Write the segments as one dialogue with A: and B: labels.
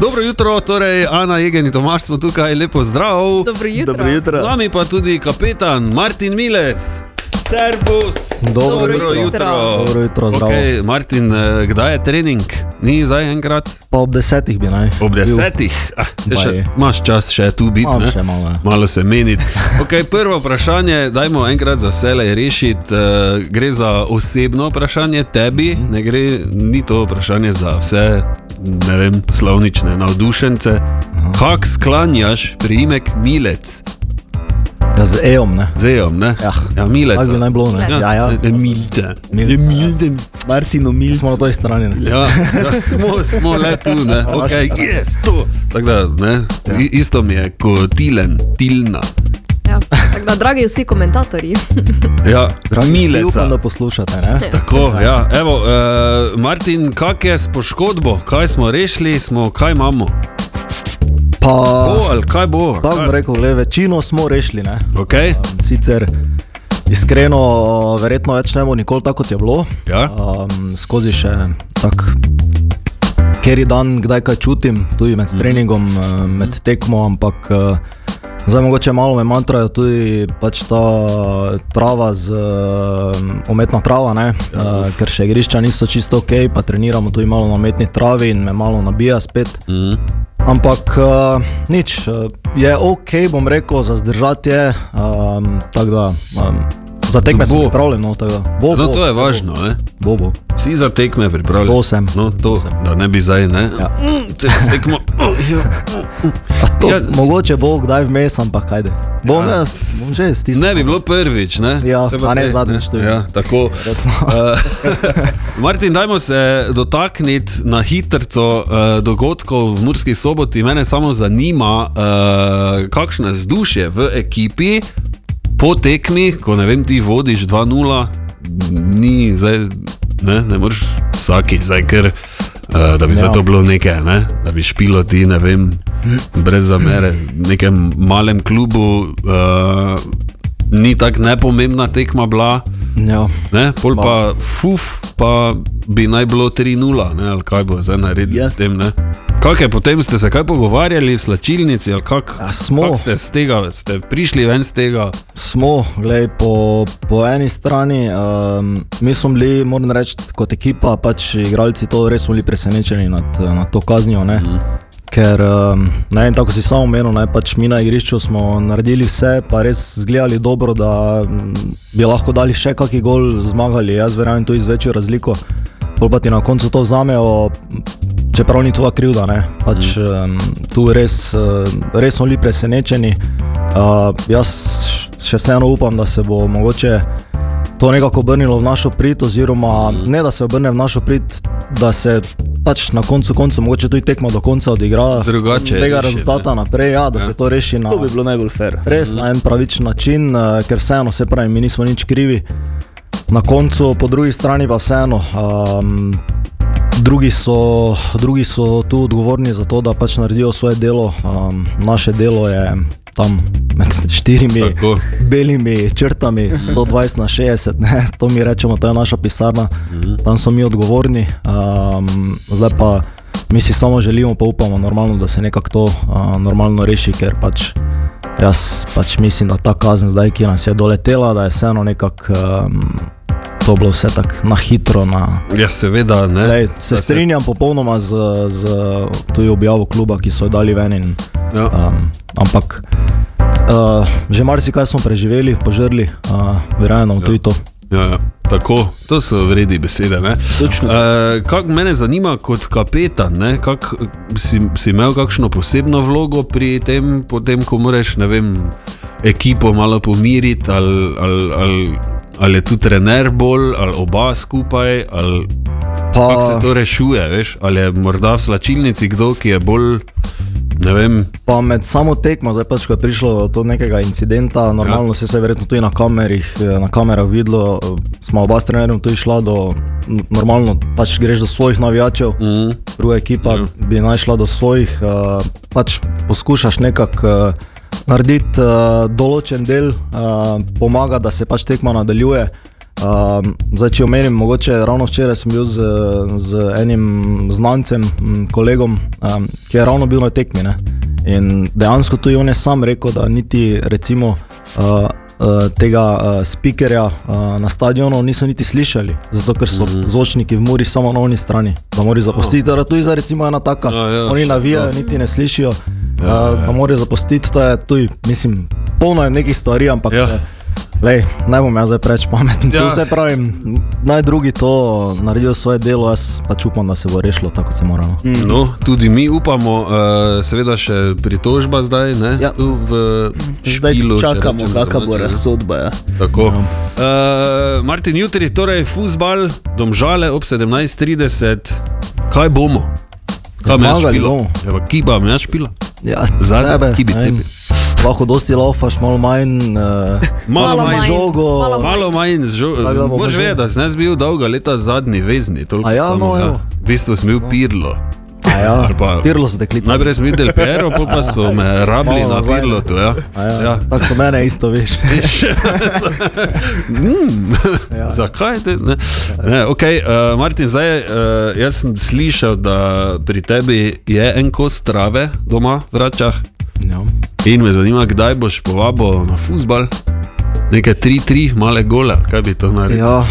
A: Dobro jutro, torej Ana, Jegen in Tomaš smo tukaj, lepo zdrav.
B: Dobro jutro.
C: Dobro jutro.
A: Z nami pa tudi kapetan Martin Milec. Servus.
C: Dobro
B: jutro.
C: Dobro jutro, zdravo.
A: okay, Martin, eh, kdaj je trening? Ni zdaj enkrat?
C: Pa ob desetih bi naj.
A: Ob desetih. Ah, te še,
C: Baj.
A: imaš čas še tu biti.
C: Imam
A: ne?
C: še malo, ja.
A: Malo se meniti. Okay, prvo vprašanje, dajmo enkrat za vse rešiti. Uh, gre za osebno vprašanje tebi,
C: Mhm.
A: ne gre, ni to vprašanje za vse ne vem, slovnične navdušence. Kak sklanjaš priimek Milec?
C: Bil. Ja, z EOM, ne.
A: Zejom, ne?
C: Ja.
A: ja Milec.
C: Tako bi naj bilo, ne. Ja, ja.
A: Milce.
C: Milce,
A: Ja,
C: ja.
A: Milce.
D: Martino Milc.
C: Smo na toj strani, ne.
A: Ja, ja smo, smo le tu,
C: Ja,
A: ne. Okay, yes, to. Tako da, ne, I, isto mi je kot tilen, tilna.
B: Ja, tako da, dragi vsi komentatorji,
A: Ja,
C: Vsi upam, da poslušate, ne.
A: Tako, ja. Evo, uh, Martin, kak je s poškodbo? Kaj smo rešili, smo, kaj imamo?
C: Pa,
A: Bo, ali kaj bo?
C: tako bom rekel, le, večino smo rešili, ne.
A: Okay.
C: Um, Sicer iskreno, verjetno več ne bo nikoli tako, kot je bilo.
A: Ja.
C: Um, skozi še tak. Ker je dan, kdaj kaj čutim, tudi med treningom, eh, med tekmo, ampak eh, zdaj mogoče malo me mantrajo tudi pač ta trava, z, eh, umetna trava, ne, Eh, ker še igrišča niso čisto ok, pa treniramo tudi malo na umetni travi in me malo nabija spet.
A: Mm.
C: Ampak uh, nič, eh, je ok, bom rekel, za zdržati je. Um, tako da, um, za tekme sem
A: Bo.
C: pripravljen, no, tako da. Bo,
A: No,
C: bo,
A: to je
C: saj bo.
A: važno, ne?
C: Bo, bo.
A: Vsi za tekme pripravljeni.
C: To sem.
A: No, to, da ne bi zdaj, ne?
C: Ja.
A: Mm, te- Tekmo. Oh, ja.
C: A To,
A: Ja.
C: ja. Mogoče bo kdaj vmes, ampak kajde. Bom
A: Ja.
C: ja. jaz, bom že stisnil.
A: Ne bi bilo prvič, ne?
C: Ja,
A: Se pa
C: a ne
A: te-
C: zadnjič tudi.
A: Ja, tako. Uh, Martin, dajmo se eh, dotakniti na hitro uh, dogodkov v Murski soboti. Mene samo zanima, uh, kakšno je vzdušje v ekipi po tekmi, ko ne vem, ti vodiš 2-0, ni zdaj, ne, ne moreš vsakič, zdaj ker. Uh, da bi ja.
C: Ja.
A: to bilo nekaj, ne? da bi špilo ti, ne vem, brez zamere, v nekem malem klubu, uh, ni tako nepomembna tekma bila,
C: Ja.
A: ne? pol pa fuf, pa bi naj bilo 3-0, ne? ali kaj bo zdaj naredil
D: Ja.
A: s tem. Ne? Kaj je potem, ste se kaj pogovarjali v slačilnici, ali kako
C: Ja, smo.
A: kak ste, z tega- ste prišli ven z tega?
C: Smo, glej, po, po eni strani, um, mi smo bili, moram reči, kot ekipa, pač igralci, to res smo bili presenečeni nad, eh, nad to kaznijo. Ne? Mm. Ker, um, ne vem, tako si sam omenil, ne, pač mi na igrišču smo naredili vse, pa res zgledali dobro, da mm, bi lahko dali še kaki gol, zmagali. Jaz verjamem tudi z večjo razliko. Pol pa ti no, na koncu to vzamejo, čeprav ni tvoja krivda. Ne? Pač, mm. um, tu res, uh, res smo bili presenečeni. Uh, jaz še vseeno upam, da se bo mogoče to nekako obrnilo v našo prid, oziroma ne da se obrne v našo prid, da se pač na koncu, koncu mogoče tudi tekma do konca odigra.
A: Drugače
C: Tega
A: rešiti,
C: rezultata naprej, ja, da ja. se to reši na
D: To bi bilo najbolj fair.
C: res na en pravičen način, eh, ker vseeno se pravi, mi nismo nič krivi. Na koncu, po drugi strani pa vseeno. Um, Drugi so, drugi so tu odgovorni za to, da pač naredijo svoje delo. Um, naše delo je tam med štirimi
A: Tako.
C: belimi črtami, 120 na 60, ne? to mi rečemo, to je naša pisarna,
A: Mhm.
C: tam so mi odgovorni. Um, zdaj pa mi si samo želimo, pa upamo, normalno, da se nekako to uh, normalno reši, ker pač jaz pač mislim, da ta kazen zdaj, ki nas je doletela, da je vseeno nekako um, to bilo vse tako na hitro. Na,
A: Ja, seveda ne.
C: Lej,
A: Da
C: se strinjam popolnoma z, z tudi objavo kluba, ki so jo dali ven. In,
A: Ja.
C: Um, ampak uh, že marsikaj smo preživeli, požrli, uh, verjamem, ja. tudi to.
A: Ja, ja, tako, to so vredni besede. Ne?
D: Točno.
A: E, kak mene zanima kot kapetan, ne, kak, si, si imel kakšno posebno vlogo pri tem, potem, ko moraš ne vem, ekipo malo pomiriti, ali, ali, ali, ali je tu trener bolj, ali oba skupaj, ali kako se to rešuje, veš? ali je morda v slačilnici kdo, ki je bolj, ne vem,
C: Pa med samo tekmo, zdaj pač, ko je prišlo do nekega incidenta, normalno ja. se je verjetno tudi na, kamerih, eh, na kamerah videlo, eh, smo oba s trenerjem tudi šla do, n- normalno pač greš do svojih navijačev,
A: mm,
C: druga ekipa Mhm. ja. bi naj šla do svojih, uh, pač poskušaš nekako uh, eh, narediti uh, določen del, uh, pomaga, da se pač tekma nadaljuje. Um, zdaj, če omenim, mogoče ravno včeraj sem bil z, z enim znancem, m, kolegom, um, ki je ravno bil na tekmi. Ne? In dejansko tudi on je sam rekel, da niti recimo, uh, uh, tega uh, speakerja uh, na stadionu niso niti slišali, zato ker so
A: Mhm.
C: mm. zvočniki v Muri samo na oni strani, da morajo zapustiti. Torej, tu je zdaj recimo ena taka,
A: Oh. Ja, ja,
C: oni navijajo,
A: ja.
C: niti ne slišijo, ja, uh, da morajo zapustiti. To je tudi, mislim, polno je nekih stvari, ampak.
A: Ja.
C: eh, Lej, ne bom jaz zdaj preveč pameten.
A: Ja.
C: Ja. Vse pravim, naj drugi to naredijo svoje delo, jaz pač upam, da se bo rešilo tako, kot se mora. no.
A: No, tudi mi upamo, uh, seveda še pritožba zdaj, ne?
D: Ja.
A: Tu v
D: Zdaj
A: špilu, če
D: čakamo,
A: rečem
D: kakšna bo
A: domače, ne.
D: razsodba. Ja.
A: Tako. Uh, Martin, jutri torej fusbal, domžale ob 17:30. Kaj bomo? Kaj me
C: Zmagali
A: špilo?
C: bomo.
A: Evo, kiba me špila.
C: Ja,
A: Zadnji, ki bi
C: ne vem,
A: tebi.
C: Lahko dosti laufaš, malo manj. Uh,
A: Malo
B: Malo
A: manj.
B: manj.
C: Žogo,
B: Malo
A: Malo manj
C: Tako da
A: zžoga.
C: bomo
A: Moraš
C: že-
A: vedeti, da sem jaz bil dolga leta zadnji vezni. toliko
C: A ja,
A: samo,
C: no,
A: ja.
C: evo.
A: V bistvu sem bil pirlo.
C: a ja,
A: ali pa-
C: pirlo so deklice.
A: Najprej sem videl pero, pa, pa smo me rabili
C: Malo
A: na
C: nazaj.
A: pirlo. Tu, ja.
C: A Ja, tako so mene isto, veš.
A: Mm. Ja. Zakaj te? Ne? Ne, okay, uh, Martin, zdaj, uh, jaz sem slišal, da pri tebi je en kos trave doma, v Račah.
C: Ja.
A: In me zanima, kdaj boš povabo na fusbal. Nekaj 3-3, male gole, kaj bi to naredil.
C: ja,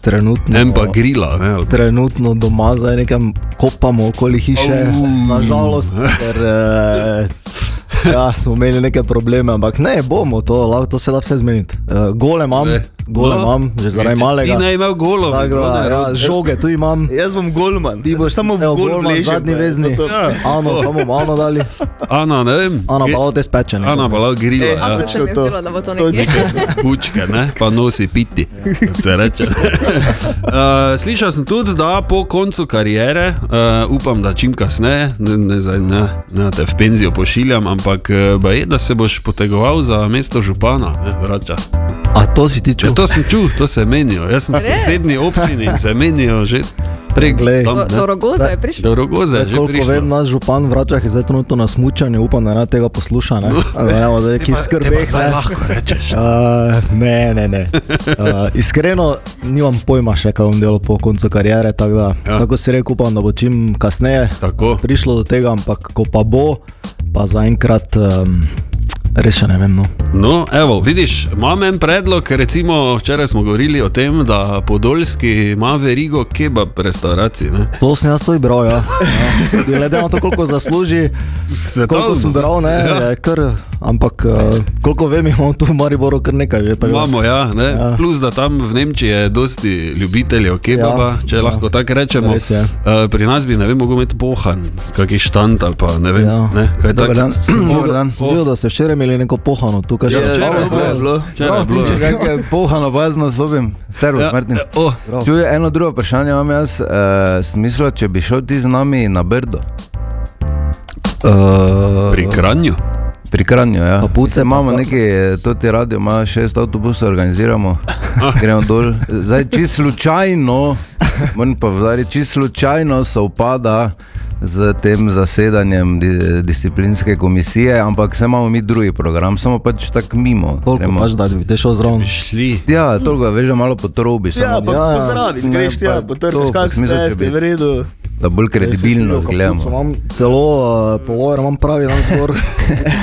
C: trenutno.
A: En pa grila. Ne? ali-
C: Trenutno doma zdaj nekam kopamo okoli hiše,
A: Au.
C: nažalost, ker eh, ja, smo imeli neke probleme, ampak ne bomo to, lahko to se da vse zmeniti. Eh, Gole imam,
A: Ne.
C: gole
A: No.
C: imam, že zaradi
A: Ti- Ti
C: malega.
A: naj imel golo.
C: Tako da,
A: ne,
C: ja, žoge tu imam.
D: Jaz bom golman,
C: Ti boš
D: samo v
C: evo,
D: gol
C: golman,
D: vležem,
C: zadnji
D: ja.
C: vezni.
D: To-
A: Ja.
C: Ano, tam bomo Ano dali.
A: Ana, ne vem.
C: Ana
A: ge-
C: pa ovo te speče. ne.
A: Ana pa lahko grila.
D: E,
A: ja.
B: A se
D: točno
B: mi je
D: to.
B: zdelo, da bo to
D: To
B: nekje.
A: bučke, ne? pa nosi piti, kot se reče. Uh, slišal sem tudi, da po koncu karijere, uh, upam, da čim kasneje, ne, ne, zdaj ne, ne te v penzijo pošiljam, ampak eh, baje, da se boš potegoval za mesto župana, ne, vrača.
C: A to si ti
A: Ja,
C: čutil?
A: to sem čutil, to se menijo. Jaz sem v
B: Res?
A: sosednji občini in se menijo že
C: Glej.
A: prej.
B: Do, do rogoza je prišlo.
A: Do rogoza je že
C: Koliko
A: prišlo.
C: vem, no, naš župan vrača, je zdaj trenutno na smučanju, upam, da ne tega posluša, ne? Da ne bomo zdaj
A: No. Te
C: nekih
A: pa- te pa
C: skrbeh.
A: zdaj
C: ne.
A: lahko rečeš.
C: Uh, ne, ne, ne. Uh, iskreno, nimam pojma še, kaj bom delal po koncu karijere. Tak da,
A: Ja.
C: ja. Tako si rekel, upam, da bo čim kasneje
A: Tako.
C: prišlo do tega, ampak ko pa bo, pa zaenkrat um, res še ne vem. No.
A: No, evo, vidiš, imam en predlog. Recimo, včeraj smo govorili o tem, da Podolski ima verigo kebab restauracij. Ne?
C: To sem jaz to ibral, ja. ja. Glede na to, koliko zasluži, koliko sem bral, ne, ja. je kar, ampak uh, koliko vem, imamo tu v Mariboru kar nekaj že. tako da.
A: Imamo, ja, ne?
C: Ja.
A: Plus, da tam v Nemčiji je dosti ljubiteljev kebaba, ja,
C: Ja,
A: če
C: ja.
A: lahko tako rečemo.
C: Res je.
A: Uh, pri nas bi, ne vem, mogel imeti pohan, kakšen štant ali pa ne vem,
C: Ja.
A: ne, kaj
D: Dober
A: takega.
D: dan. Dober dan.
C: Sem videl, da ste včeraj imeli neko pohano tukaj.
A: Ja,
C: že
A: včeraj,
C: ostalo,
A: dobro
C: ne?
A: je bilo. Včeraj je
E: Prav,
A: bilo.
E: Tinče,
A: ja.
E: kaj je pohano bazno zobim. Servus,
A: Ja,
E: Martin.
A: ja, o,
C: Prav.
E: Čuje eno drugo vprašanje, imam jaz, uh, smisel, če bi šel ti z nami na Brdo,
C: Eh,
A: Pri kranju.
E: pri Kranju, ja.
C: Kapuce
E: imamo
C: pa-
E: neki, eh, to ti radio ima šest avtobusov, organiziramo, gremo dol. Zdaj, čisto slučajno, moram pa vzdariti, čisto slučajno se upada z tem zasedanjem di, disciplinske komisije, ampak se imamo mi drugi program, samo pač tako mimo.
C: Koliko
E: gremo.
C: imaš, da bi te šel zraven?
A: Šli.
E: Ja, toliko je, veš, da malo potrobiš.
D: Ja,
E: samo
D: ampak
C: Ja, ja.
D: pozdraviš,
E: Ne,
D: greš ti,
E: pa
D: ja,
E: to,
D: potrkaš, kak
E: mislim, če
D: ste, ste
E: bi-
D: v redu.
E: da bolj kredibilno
C: Jaz sem si videl kapuco,
E: gledamo.
C: Imam celo uh, polover, imam pravi dan zgor.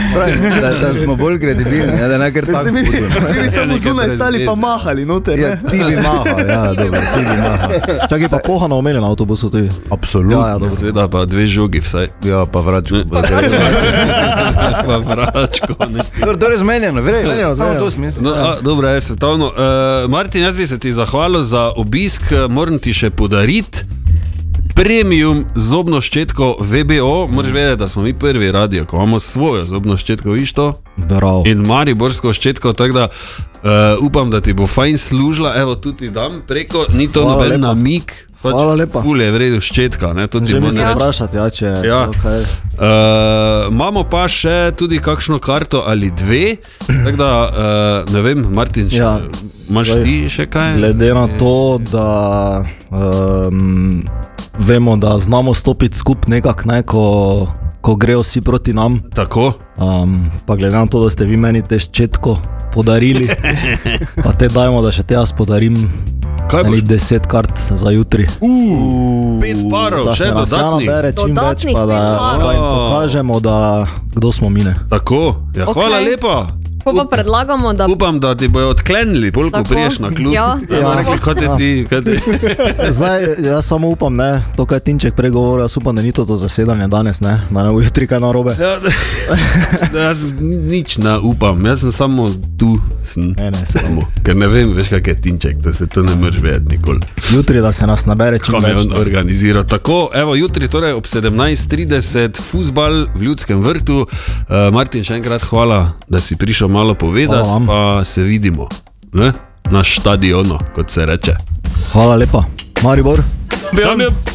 E: Da, da smo bolj kredibilni, ne, da ne kar
D: Da
E: tako
D: se mi,
E: budemo.
D: mi bi samo
A: nekaj
D: zunaj
A: brez
D: stali pa
A: veze.
D: mahali noter.
E: Ja,
D: ne.
E: ti bi mahal, ja, dobro, ti bi mahal.
C: Čakaj, pa pohano omenjen na avtobusu tudi. Ja, ja,
E: Absolutno.
C: dobro.
A: Seveda pa dve žogi vsaj.
E: Ja, pa vračko.
A: Ne. pa vračko. Ne.
E: Torej, zmenjeno, verjetno.
C: Zmenjeno,
E: Samo
C: zmenjeno.
E: to smisel.
A: No, a, dobro, je svetovno. Uh, Martin, jaz bi se ti zahvalil za obisk, eh, moram ti še podariti. Premium zobno ščetko VBO, moraš vedeti, da smo mi prvi radio, ko imamo svojo zobno ščetko, viš to,
C: Bravo.
A: in mariborsko ščetko, tako da uh, upam, da ti bo fajn služila, evo tu ti dam preko, ni to
C: Hvala
A: noben
C: lepa.
A: namik,
C: Hvala lepa.
A: ful je v redu ščetka, ne, to
C: Sem
A: ti
C: Že
A: moram
C: mislim
A: reči.
C: vprašati, ja, če je
A: Ja.
C: bilo kaj.
A: Uh, imamo pa še tudi kakšno karto ali dve, tako da uh, ne vem, Martin, če ja,
C: Ja,
A: imaš
C: zdaj,
A: ti še kaj?
C: Glede na to, da um, vemo, da znamo stopiti skupaj nekako, ne, ko, ko grejo vsi proti nam,
A: Tako,
C: um, pa glede na to, da ste vi meni te ščetko podarili. Pa te dajmo, da še te jaz podarim.
A: Kaj boš?
C: Enih deset kart za jutri.
A: Pet parov,
C: da
A: še
C: se nas ja
A: dodatnih.
C: nabere čim več,
B: Dodatnih
C: pa da,
B: pet parov.
C: da jim pokažemo, da, kdo smo mi. ne.
A: Tako, ja,
B: Okej.
A: hvala lepa.
B: Pa pa predlagamo, da
A: Upam, da ti bojo odklenili, bolj ko
B: Tako.
A: priješ na klub.
B: Ja.
A: Da bojo rekli, kaj te ti, kaj te ti.
C: Zdaj, jaz samo upam, ne, to, kar je Tinček pregovoril, jaz upam, da ni to, to zasedanje danes, ne, da ne bo jutri kaj narobe.
A: Ja, da- jaz ni- nič ne upam, jaz sem samo tu, sem.
C: Ne, ne,
A: Samo.
C: samo.
A: Ker ne vem, veš, kak je tinček, da se to ne moreš vedeti nikoli.
C: Jutri, da se nas nabere
A: Kaj
C: čim
A: me
C: več.
A: on organizira? Tako, evo, jutri torej ob 17.30, futbal v Ljudskem vrtu. Uh, Martin, še enkrat hvala, da si prišel malo povedati,
C: Hvala vam.
A: pa se vidimo ne? na stadionu, kot se reče.
C: Hvala lepa. Maribor.
A: Čau, Ljub.